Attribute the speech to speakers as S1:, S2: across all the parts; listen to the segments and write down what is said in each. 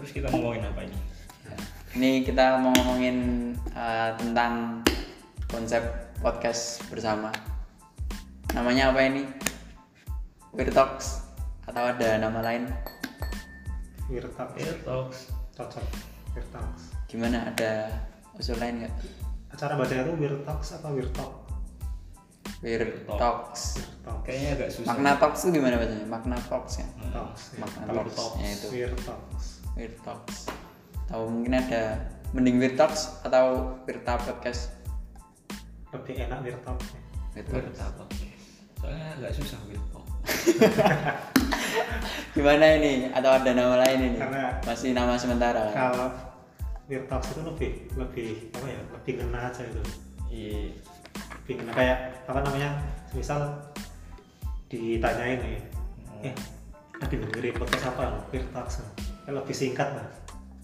S1: kita mau ngomongin apa ini?
S2: Ini kita mau ngomongin eh, tentang konsep podcast bersama. Namanya apa ini? Weird Talks atau ada nama lain?
S3: Irtax
S1: Air Talks.
S3: eh, cocok Irtax
S2: Gimana ada usul lain nggak?
S3: acara bacanya tuh Wirtax apa Wirtok
S2: Weird
S1: Talk.
S2: Talks.
S3: Wirtok
S1: Kayaknya agak susah.
S2: Makna Talks itu gimana bacanya? Makna Talks ya?
S3: Talks ya.
S2: Makna
S1: Kalau
S2: Talks,
S1: Talks,
S2: ya itu.
S3: Wirtax
S2: Weird Talks. Atau mungkin ada mending Weird Talks atau Weird Talk Podcast?
S3: lebih enak Wirtok
S2: Weird
S1: Weird
S2: Talks.
S1: Talk. Soalnya agak susah Weird Talk.
S2: Gimana ini? Atau ada nama lain ini?
S3: Karena-
S2: Masih nama sementara.
S3: kalau Wirtax itu lebih lebih apa ya lebih ngena aja gitu
S1: Iya.
S3: lebih ngena kayak apa namanya misal ditanyain nih
S1: Iya.
S3: eh lagi dengerin podcast apa lo Wirtax ya lebih singkat lah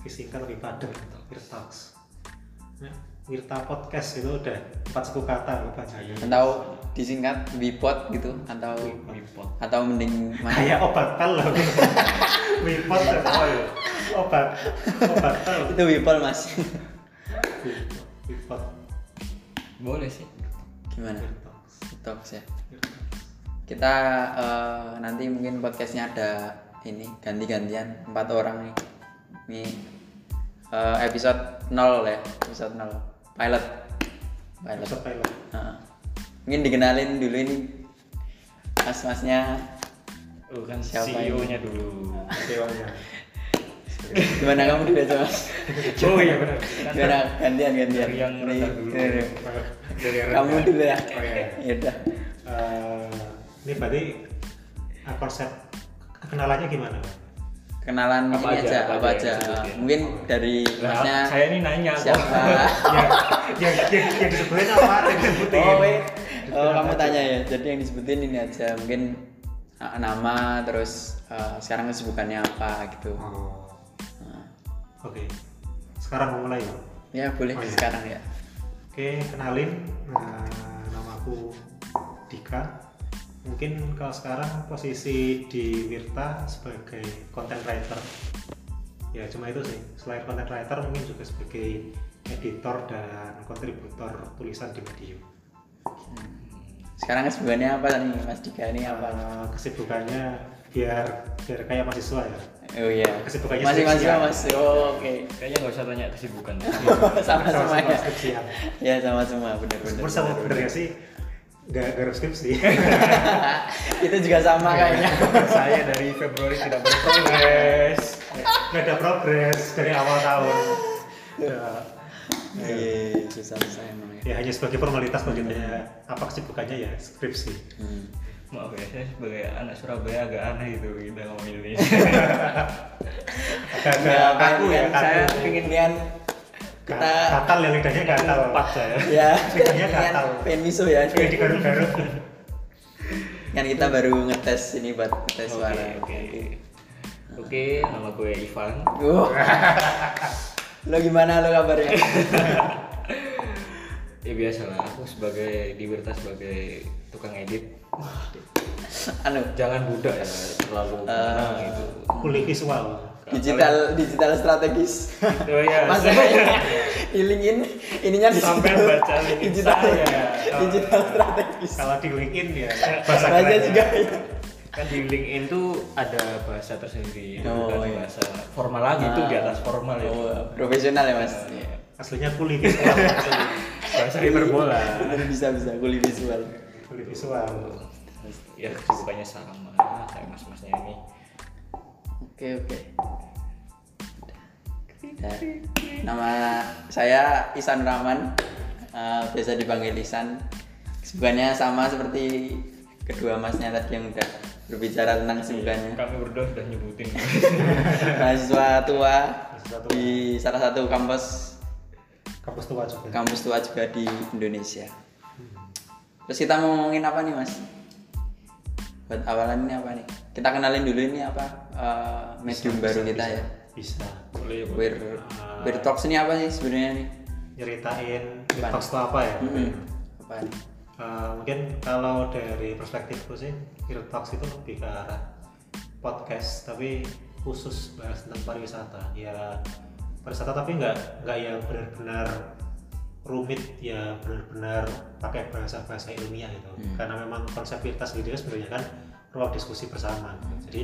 S3: lebih singkat lebih padat Wirtax nah, Wirta podcast itu udah empat suku kata lo bacanya
S2: atau disingkat Wipot gitu atau
S1: Wipot.
S2: atau mending mana
S3: kayak obat pel loh Wipot dan apa ya obat obat pel
S2: itu Wipol mas
S3: Wipot
S1: Boleh sih.
S2: gimana
S3: Wirtox
S2: Talks ya
S3: Wirtox.
S2: kita eh, nanti mungkin podcastnya ada ini ganti-gantian empat orang nih ini eh, episode 0 ya episode 0 pilot pilot
S3: Episode pilot
S2: Heeh. mungkin dikenalin dulu ini mas-masnya
S1: Oh kan
S2: Siapa
S1: CEO-nya dulu.
S3: dewanya
S2: gimana kamu biasa mas
S1: Oh iya benar.
S2: gimana gantian gantian
S1: Dari yang
S2: Ini-
S1: rendah dulu.
S2: ini-
S1: Dari
S2: kamu dulu ya
S3: Oh, iya.
S2: ya udah
S3: Eh, ini berarti eh, konsep kenalannya gimana Pak?
S2: kenalan
S1: Apa
S2: ini
S1: aja,
S2: aja,
S1: apa
S2: apa
S1: aja
S2: aja,
S1: yang disebutin.
S2: mungkin dari
S1: Lah,
S2: masnya
S1: saya ini nanya kok.
S2: siapa
S3: yang yang yang, yang disebutin apa yang disebutin
S2: oh wait
S1: Iya.
S2: oh, kamu tanya ya jadi yang disebutin ini aja mungkin uh, nama terus uh, sekarang kesibukannya apa gitu
S3: Oh,
S2: Nah,
S3: oke sekarang mau mulai ya
S2: ya boleh
S3: Oh, iya.
S2: sekarang ya
S3: Oke, kenalin nah, nama aku Dika. Mungkin kalau sekarang posisi di Wirta sebagai content writer. Ya cuma itu sih. Selain content writer mungkin juga sebagai editor dan kontributor tulisan di Medium.
S2: sekarang kesibukannya apa nih mas Dika ini apa
S3: Eh, kesibukannya biar biar kayak mahasiswa ya.
S2: oh iya
S3: Kesibukannya
S2: masih masih
S1: ya?
S3: skripsian.
S2: mas oh, oke
S1: Kayaknya nggak usah tanya kesibukan.
S2: sama sama ya
S3: skripsian.
S2: ya sama semua bener bener,
S3: Terus sama
S2: bener, bener.
S3: bener ya sih? Gak, gak harus skripsi.
S2: itu juga sama
S1: Iya.
S2: kayaknya
S1: saya dari Februari tidak berprogres.
S3: Gak ada progres dari awal tahun. Ya.
S2: iya susah susah emang ya
S3: ya hanya sebagai formalitas begitu
S2: Iya.
S3: ya apa kesibukannya ya skripsi
S2: Hmm.
S1: Maaf ya, saya sebagai anak Surabaya agak aneh gitu kita ngomong Indonesia.
S2: Iya,
S3: agak-agak kaku ya
S2: kan, saya
S3: kaku
S2: pengen lihat kita
S3: Ga- gatal ya lidahnya gatal
S1: Empat saya.
S2: ya
S3: Lidahnya
S2: pengen-
S3: gatal.
S2: pengen miso ya
S3: Kayak digaruk-garuk
S2: kan kita baru ngetes ini buat ngetes
S1: Oke,
S2: suara
S1: oke. Oke, nama gue Ivan.
S2: Wah. lo gimana lo kabarnya
S1: Ya biasalah, aku sebagai di Wirta sebagai tukang edit.
S2: anu
S1: Jangan budak ya, terlalu
S2: Eh,
S1: menang gitu.
S3: kulit visual
S2: digital digital strategis
S1: Oh iya.
S2: maksudnya ilingin ininya di
S1: Sampai
S2: situ.
S1: baca link
S2: digital
S1: saya.
S2: Iya, digital strategis
S3: kalau di LinkedIn ya bahasa
S2: bahasa
S3: kerennya.
S2: juga ya.
S1: Kan di LinkedIn tuh ada bahasa tersendiri,
S2: Oh,
S1: bukan
S2: iya.
S1: bahasa formal lagi itu di atas formal ya.
S2: Oh, profesional ya mas Iya.
S3: aslinya kulit visual
S1: Bahasa hiperbola.
S2: Bener, bisa bisa kulit visual
S3: kulit visual
S1: ya kesibukannya sama kayak mas-masnya ini.
S2: oke oke Nah, nama saya Isan Rahman eh, biasa dipanggil Isan kesibukannya sama seperti kedua masnya tadi yang udah berbicara tentang kesibukannya
S1: Kami berdua sudah nyebutin.
S2: mahasiswa tua
S3: Mahasiswa tua.
S2: di salah satu kampus
S3: kampus tua juga
S2: kampus tua juga di Indonesia terus kita mau ngomongin apa nih mas buat awalan ini apa nih kita kenalin dulu ini apa eh, medium baru kita ya
S3: bisa
S1: Boleh ya,
S2: Weird, weird talks ini apa sih sebenarnya nih?
S3: nyeritain Wirtox itu apa ya
S2: Mm-mm. Apa nih?
S3: Eh, mungkin kalau dari perspektifku sih Real Talks itu lebih ke arah podcast tapi khusus bahas tentang pariwisata ya pariwisata tapi nggak nggak yang benar-benar rumit ya benar-benar pakai bahasa bahasa ilmiah gitu
S2: Hmm.
S3: karena memang konsep kita sendiri kan sebenarnya kan ruang diskusi bersama gitu. jadi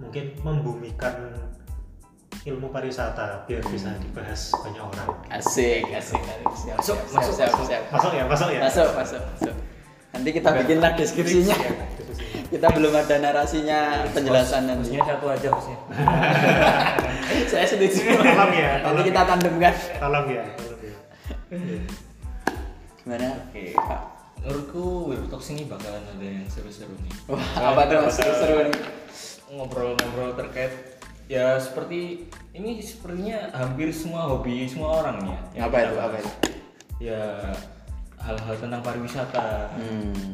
S3: mungkin membumikan ilmu pariwisata biar bisa dibahas banyak orang
S2: Asik, asik, asik. Siap,
S1: Masuk,
S2: siap,
S1: masuk,
S2: siap,
S1: masuk.
S2: siap, siap.
S3: masuk ya masuk ya
S2: Masuk, masuk, masuk. Nanti kita bikin lah deskripsinya. Kita belum ada narasinya, penjelasan nanti.
S1: Maksudnya satu aja maksudnya.
S2: Saya setuju.
S3: Tolong ya,
S2: Nanti
S3: tolong
S2: kita
S3: ya.
S2: tandemkan.
S3: tolong ya tolong ya
S2: Gimana?
S1: Oke.
S2: Kak?
S1: Menurutku Weird Talks ini bakalan ada yang seru-seru nih.
S2: Wah, apa tuh mas? Seru nih.
S1: Ngobrol-ngobrol terkait ya seperti ini sepertinya hampir semua hobi semua orang nih ya. yang
S2: Apa
S1: kita
S2: itu? Apa
S1: bahas.
S2: itu?
S1: Ya hal-hal tentang pariwisata.
S2: Hmm.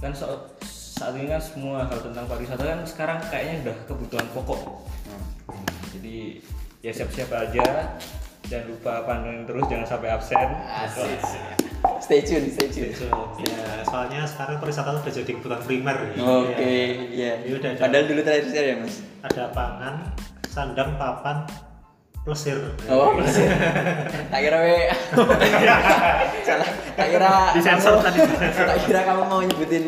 S1: Kan so- saat ini kan semua hal tentang pariwisata kan sekarang kayaknya udah kebutuhan pokok.
S2: Hmm.
S1: Jadi ya siap-siap aja. Jangan lupa pantengin terus jangan sampai absen.
S2: Asik. Stay tune, stay tune.
S3: So, ya, soalnya sekarang pariwisata udah jadi kebutuhan primer ya.
S2: Oke,
S3: Ya,
S2: ya.
S3: jadi udah ada,
S2: Padahal dulu terakhir share ya mas.
S3: ada pangan, sandang, papan, plesir.
S2: Oh, mas. tak kira we. Salah. Tak kira.
S3: Disensor
S2: kamu-
S3: tadi, disensor.
S2: Tak kira kamu mau nyebutin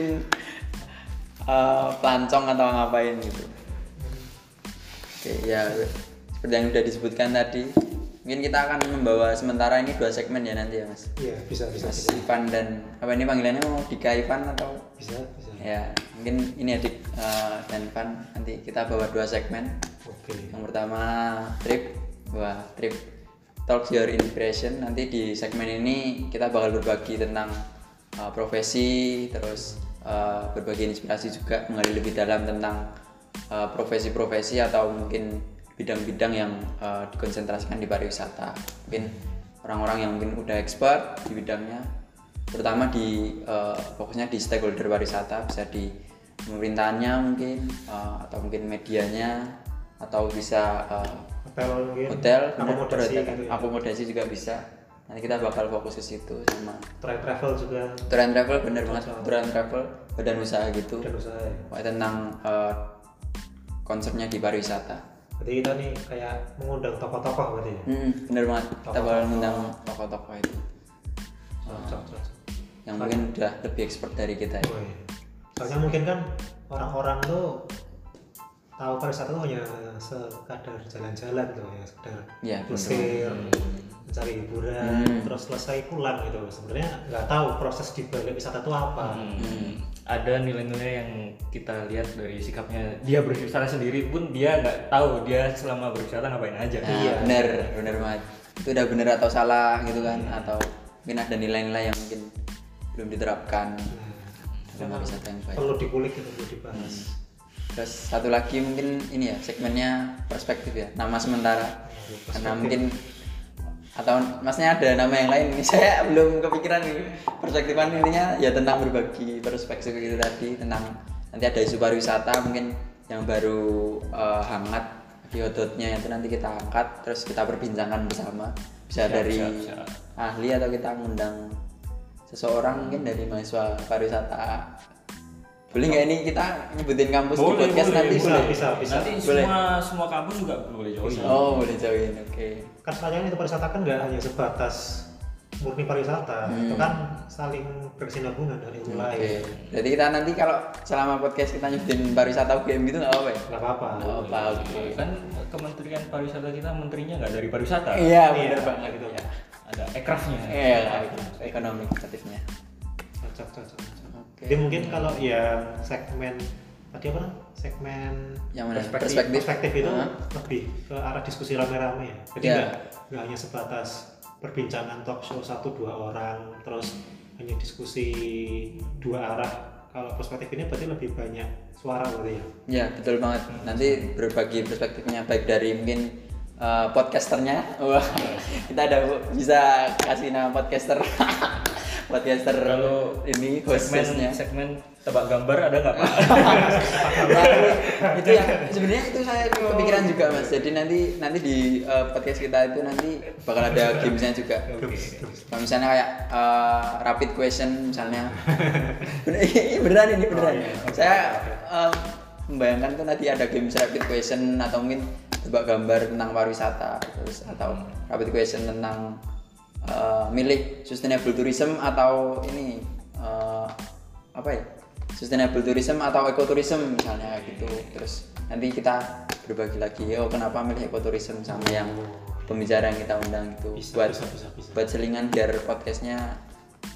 S2: eh, pelancong atau ngapain gitu. Oke, ya. Seperti yang sudah disebutkan tadi, mungkin kita akan membawa sementara ini dua segmen ya nanti ya mas.
S3: Iya, bisa bisa
S2: Mas Ivan dan apa ini panggilannya mau Dika Ivan atau
S3: bisa bisa.
S2: Ya, mungkin ini adik eh, dan Van nanti kita bawa dua segmen.
S3: Oke.
S2: Yang pertama trip, wah trip talk your impression. Nanti di segmen ini kita bakal berbagi tentang eh, profesi, terus eh, berbagi inspirasi juga menggali lebih dalam tentang eh, profesi-profesi atau mungkin bidang-bidang yang eh, dikonsentrasikan di pariwisata. Mungkin orang-orang yang mungkin udah expert di bidangnya terutama di eh, fokusnya di stakeholder pariwisata bisa di pemerintahannya mungkin eh, atau mungkin medianya atau bisa eh,
S3: Hotel mungkin.
S2: hotel
S3: Akomodasi
S2: kemudian
S3: gitu
S2: perhotelan.
S3: ya.
S2: akomodasi juga bisa nanti kita bakal fokus ke situ sama
S3: Tra- travel juga
S2: tour and travel bener banget tour and travel badan usaha gitu
S3: dan usaha. ya.
S2: Pokoknya tentang eh, konsepnya di pariwisata
S3: Berarti kita nih kayak mengundang tokoh-tokoh berarti ya.
S2: hmm, bener banget kita bakal ngundang tokoh-tokoh itu
S3: Cocok, cocok.
S2: yang mungkin udah lebih expert dari kita ya.
S3: Oh, iya. Soalnya mungkin kan orang-orang tuh tahu pariwisata tuh hanya sekadar jalan-jalan tuh ya sekedar
S2: Iya, Hmm.
S3: plesir, mencari hiburan, terus selesai pulang gitu. Sebenarnya nggak tahu proses di balik wisata itu apa.
S1: Hmm. Ada nilai-nilai yang kita lihat dari sikapnya dia berwisata sendiri pun dia nggak tahu dia selama berwisata ngapain aja.
S2: Nah, bener, bener banget. Itu udah bener atau salah gitu kan? Atau mungkin ada nilai-nilai yang mungkin belum diterapkan dalam pariwisata yang baik.
S3: Nah,
S2: Hmm.
S3: Perlu dikulik gitu, perlu dibahas.
S2: Terus satu lagi mungkin ini ya segmennya perspektif ya, nama sementara. Karena Nah, mungkin atau masnya ada nama yang lain saya belum kepikiran nih perspektifan intinya ya tentang berbagi perspektif itu tadi tentang nanti ada isu pariwisata mungkin yang baru eh, hangat hototnya itu nanti kita angkat terus kita perbincangkan bersama bisa
S1: Siap,
S2: dari
S1: siap, siap.
S2: ahli atau kita ngundang seseorang mungkin dari mahasiswa pariwisata boleh nggak ini kita nyebutin kampus di
S1: Boleh,
S2: podcast
S1: boleh,
S2: nanti
S3: bisa,
S2: boleh
S3: bisa, bisa.
S1: Nanti
S2: Boleh.
S1: semua semua kampus juga boleh join.
S2: oh boleh join oke
S3: Kan soalnya itu pariwisata kan nggak hanya sebatas murni pariwisata, itu kan saling berkesinambungan dari ilmu lain.
S2: Hmm. Oke. Jadi kita nanti kalau selama podcast kita nyebutin pariwisata UGM gitu nggak apa-apa ya?
S3: Nggak apa-apa.
S2: Nggak apa-apa. Oke.
S1: Kan Kementerian Pariwisata kita menterinya nggak dari pariwisata.
S2: Iya
S3: Iya,
S2: benar banget
S3: gitu.
S2: gitu ya.
S1: Ada ekrafnya.
S2: Iya ekonomi kreatifnya.
S3: Cocok, cocok, cocok.
S2: Oke.
S3: Jadi mungkin kalau yang segmen tadi apa? Segmen
S2: Yang mana?
S1: Perspektif-
S2: Perspektif.
S3: perspektif itu
S2: Hah?
S3: lebih ke arah diskusi rame-rame ya. Jadi
S2: Ya.
S3: nggak nggak hanya sebatas perbincangan talk show satu dua orang, terus hanya diskusi dua arah. Kalau perspektif ini berarti lebih banyak suara berarti ya.
S2: Ya betul banget. Nanti berbagi perspektifnya baik dari mungkin eh, podcasternya. Wah, kita ada bisa kasih nama podcaster. podcaster
S1: Kalau
S2: ini
S1: Segmen
S2: hostesnya.
S1: segmen tebak gambar ada nggak pak?
S2: Ya, itu yang sebenarnya itu saya kepikiran juga mas jadi nanti nanti di eh, podcast kita itu nanti bakal ada gamesnya juga kalau misalnya kayak eh, rapid
S3: Oh, iya,
S2: question misalnya Bener- ini beneran ini beneran saya eh, membayangkan tuh nanti ada games rapid question atau mungkin tebak gambar tentang pariwisata terus atau rapid question tentang eh, milik sustainable tourism atau ini eh, apa ya sustainable tourism atau ecotourism misalnya
S3: Iya,
S2: gitu terus nanti kita berbagi lagi oh kenapa milih ecotourism sama yang pembicara yang kita undang gitu
S3: Bisa,
S2: buat
S3: bisa, bisa, bisa.
S2: buat selingan biar podcastnya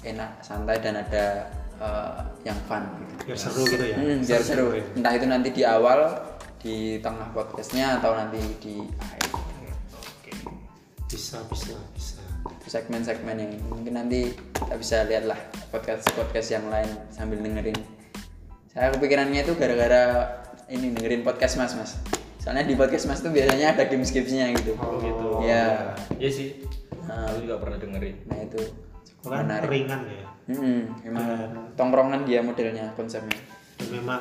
S2: enak santai dan ada eh, yang fun gitu.
S3: biar seru gitu ya
S2: Hmm, biar seru. Entah itu nanti di awal, di tengah podcastnya atau nanti di akhir.
S3: Oke. bisa bisa bisa
S2: segmen-segmen yang mungkin nanti kita bisa lihatlah podcast podcast yang lain sambil dengerin. Saya kepikirannya itu gara-gara ini dengerin podcast mas mas. Soalnya di podcast mas tuh biasanya ada games gamesnya gitu.
S3: oh gitu
S2: Ya.
S1: Iya sih. Nah, lu juga pernah dengerin.
S2: Nah itu cukup
S3: kan
S2: menarik.
S3: ringan ya
S2: Hmm, emang
S1: Nah.
S2: tongkrongan dia modelnya konsepnya.
S3: dan memang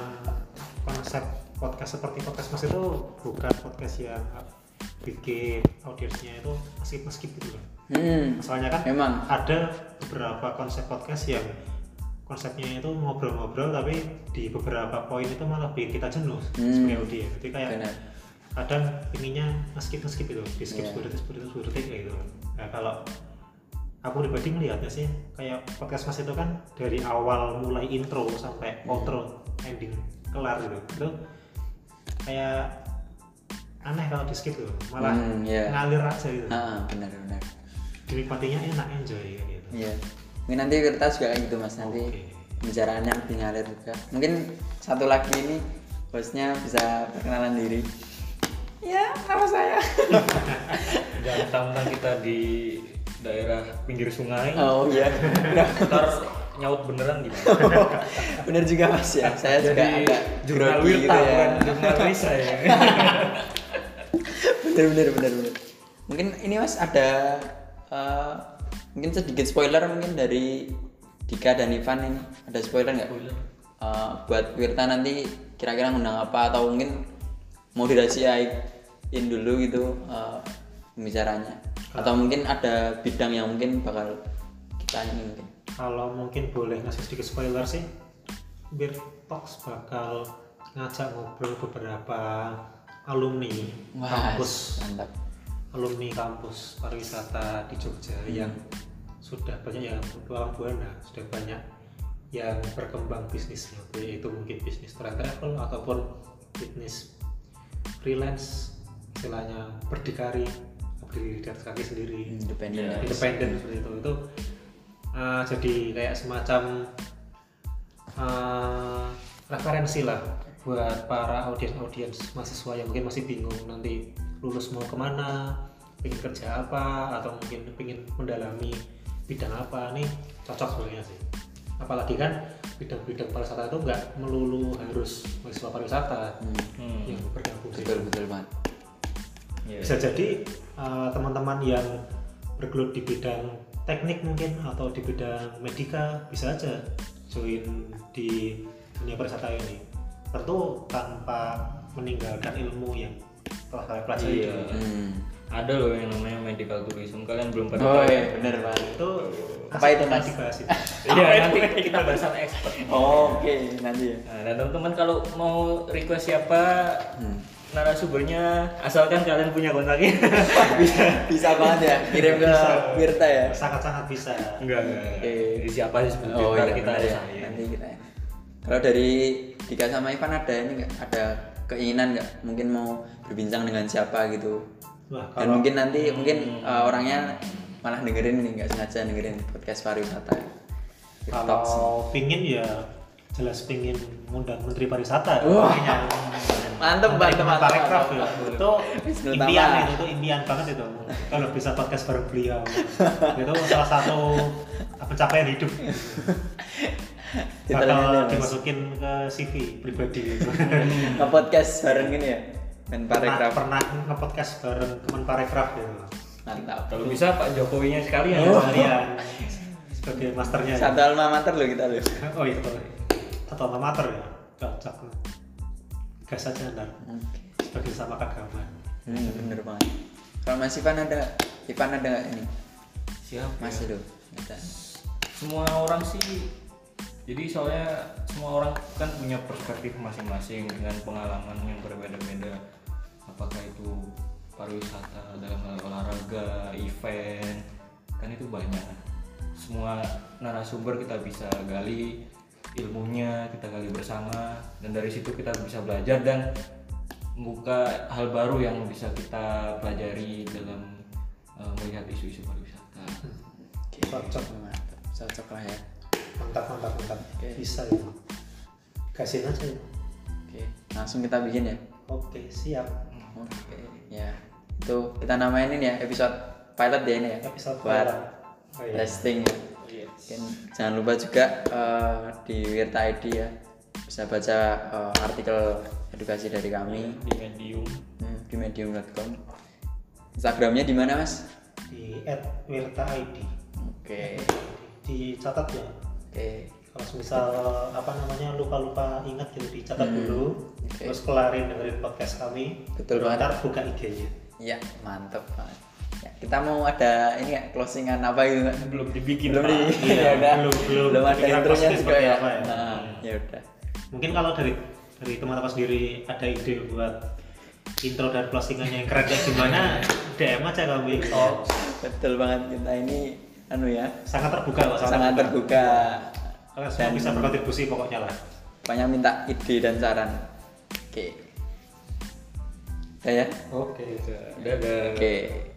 S3: konsep podcast seperti podcast mas itu bukan podcast yang bikin audiensnya itu skip skip gitu loh
S2: Hmm,
S3: masalahnya kan
S2: emang.
S3: ada beberapa konsep podcast yang konsepnya itu ngobrol-ngobrol tapi di beberapa poin itu malah bikin kita jenuh
S2: Hmm.
S3: sebagai audiens jadi
S1: Ya.
S3: kayak
S2: Benar.
S3: kadang ininya skip skip itu di skip
S2: Iya.
S3: sepuluh detik sepuluh detik sepuluh detik kayak gitu nah, kalau aku pribadi ngelihatnya sih kayak podcast mas itu kan dari awal mulai intro sampai
S2: Hmm.
S3: outro ending kelar gitu itu kayak aneh kalau di skip gitu malah
S2: Hmm, iya.
S3: ngalir aja gitu
S2: Ah, benar benar.
S3: dinikmatinya enak enjoy kayak gitu
S2: Iya. Mungkin nanti kita juga kayak gitu mas nanti
S3: Oke.
S2: pembicaraannya lebih ngalir juga. Mungkin satu lagi ini bosnya bisa perkenalan diri. Ya, nama saya.
S1: Jangan tentang kita di daerah pinggir sungai,
S2: oh iya.
S1: ntar nyaut beneran gitu. gimana?
S2: Bener juga mas ya. Saya juga agak
S1: jurnal
S2: grogi
S1: wirta
S2: gitu ya.
S1: bukan jurnal risa ya.
S2: bener bener bener bener. Mungkin ini mas ada eh, mungkin sedikit spoiler mungkin dari Dika dan Ivan ini ada spoiler nggak? Eh, buat Wirta nanti kira-kira ngundang apa atau mungkin mau dirahasiain dulu gitu eh, pembicaranya atau mungkin ada bidang yang mungkin bakal kita ini mungkin
S3: kalau mungkin boleh ngasih sedikit spoiler sih Beer Talks bakal ngajak ngobrol beberapa alumni
S2: Wah,
S3: kampus
S2: mantap
S3: alumni kampus pariwisata di Jogja yang sudah banyak yang berpeluang buana sudah banyak yang berkembang bisnisnya baik itu mungkin bisnis tour and travel ataupun bisnis freelance istilahnya berdikari berdiri di atas kaki sendiri
S2: independen ya.
S3: independen seperti itu itu uh, jadi kayak semacam uh, referensi lah buat para audiens-audiens mahasiswa yang mungkin masih bingung nanti lulus mau kemana pengen kerja apa atau mungkin pengen mendalami bidang apa nih cocok sebenarnya sih apalagi kan bidang-bidang pariwisata itu nggak melulu harus mahasiswa pariwisata
S1: Hmm.
S3: yang bergabung di
S2: betul betul banget
S1: Iya.
S3: bisa jadi uh, teman-teman yang bergelut di bidang teknik mungkin atau di bidang medika bisa aja join di dunia pariwisata ini tentu tanpa meninggalkan ilmu yang telah kalian pelajari
S1: Iya.
S2: hmm.
S1: Ada loh yang namanya medical tourism. Kalian belum pernah. tahu.
S2: oh
S1: ya?
S2: iya bener banget
S3: itu
S2: Apa itu, Mas?
S3: dibahas itu.
S1: Iya, nanti kita bahasan expert.
S2: oh, oke nanti ya
S1: Nah, dan teman-teman kalau mau request siapa
S2: Hmm.
S1: narasumbernya asalkan kalian punya ya. kontaknya.
S2: bisa bisa banget ya kirim ke Wirta ya
S3: sangat-sangat bisa
S2: Hmm.
S1: enggak, enggak.
S2: Oke.
S1: Siapa sih sebetulnya?
S2: Oh
S1: Ntar
S2: iya
S1: kita
S2: kita ya.
S1: usahain.
S2: Nanti kita. ya. Kalau dari Dika sama Ivan ada ini nggak? Ada keinginan nggak? Mungkin mau berbincang dengan siapa gitu?
S3: Wah,
S2: Dan mungkin nanti mungkin uh, orangnya malah dengerin nih nggak sengaja dengerin podcast pariwisata. Talks.
S3: kalau pingin ya jelas pingin ngundang menteri pariwisata
S2: Wah.
S3: Kayaknya.
S2: Mantep mantep
S3: Menteri
S2: mantep.
S3: Parekraf ya.
S2: mantep.
S3: itu
S2: Wisnu
S3: impian
S2: Tama.
S3: itu, itu impian banget itu kalau bisa podcast bareng beliau itu salah satu pencapaian hidup
S2: Kita lihat
S3: bakal
S2: ya, Mas.
S3: dimasukin ke CV pribadi gitu.
S2: Ke podcast bareng gini ya. Men
S3: pernah,
S2: parekraf.
S3: pernah nge-podcast bareng teman parekraf gitu
S2: Mantap.
S1: Kalau bisa Pak Jokowinya sekalian.
S2: Oh.
S3: ya kalian sebagai masternya ya.
S2: Satu alma mater loh kita loh.
S3: oh itu boleh atau alma mater ya cocok gas aja ntar sebagai sama keagamaan
S2: Hmm, bener banget. Kalau Mas Ivan ada nggak? Ivan ada nggak ini?
S1: Siap.
S2: Mas dulu. Kita.
S1: Semua orang sih jadi soalnya semua orang kan punya perspektif masing-masing dengan pengalaman yang berbeda-beda apakah itu pariwisata dalam hal olahraga event kan itu banyak semua narasumber kita bisa gali ilmunya kita gali bersama dan dari situ kita bisa belajar dan membuka hal baru yang bisa kita pelajari dalam eh, melihat isu-isu pariwisata
S3: Cocok.
S2: Mantap, cocok lah ya
S3: mantap mantap mantap
S2: Oke.
S3: bisa itu gasin aja itu
S2: oke langsung kita bikin ya
S3: oke siap
S2: oke ya itu kita namainin ya episode pilot ya ini ya
S3: episode
S2: buat
S3: malam oh, iya.
S2: testing ya Mungkin jangan lupa juga eh, di Wirta ID ya bisa baca eh, artikel edukasi dari kami
S1: di medium
S2: hmm, di medium.com Instagramnya di mana mas?
S3: di at Wirta ID
S2: Oke
S3: dicatat ya
S2: oke
S3: kalau misal apa namanya lupa-lupa ingat gitu dicatat
S2: Hmm,
S3: dulu
S2: oke.
S3: terus kelarin dengerin podcast kami
S2: Betul
S3: Terus
S2: banget.
S3: ntar buka IG-nya
S2: ya mantep banget ya, kita mau ada ini nggak closingan apa gitu nggak?
S1: belum dibikin
S2: belum
S1: Pak.
S2: nih
S3: Iya,
S2: ya udah
S3: belum- belum.
S2: belum ada
S3: Pikiran
S2: intronya
S3: closing
S2: juga
S3: seperti
S2: ya
S3: apa ya?
S2: nah, ya udah
S3: mungkin kalau dari dari teman-teman sendiri ada ide buat intro dan closingannya yang keren kayak gimana DM aja kami oh,
S2: betul banget kita ini anu ya
S3: sangat terbuka kok sangat,
S2: sangat
S3: terbuka,
S2: terbuka
S3: kalian semua bisa berkontribusi pokoknya lah
S2: banyak minta ide dan saran oke udah ya
S3: oke
S1: Dadah.
S2: oke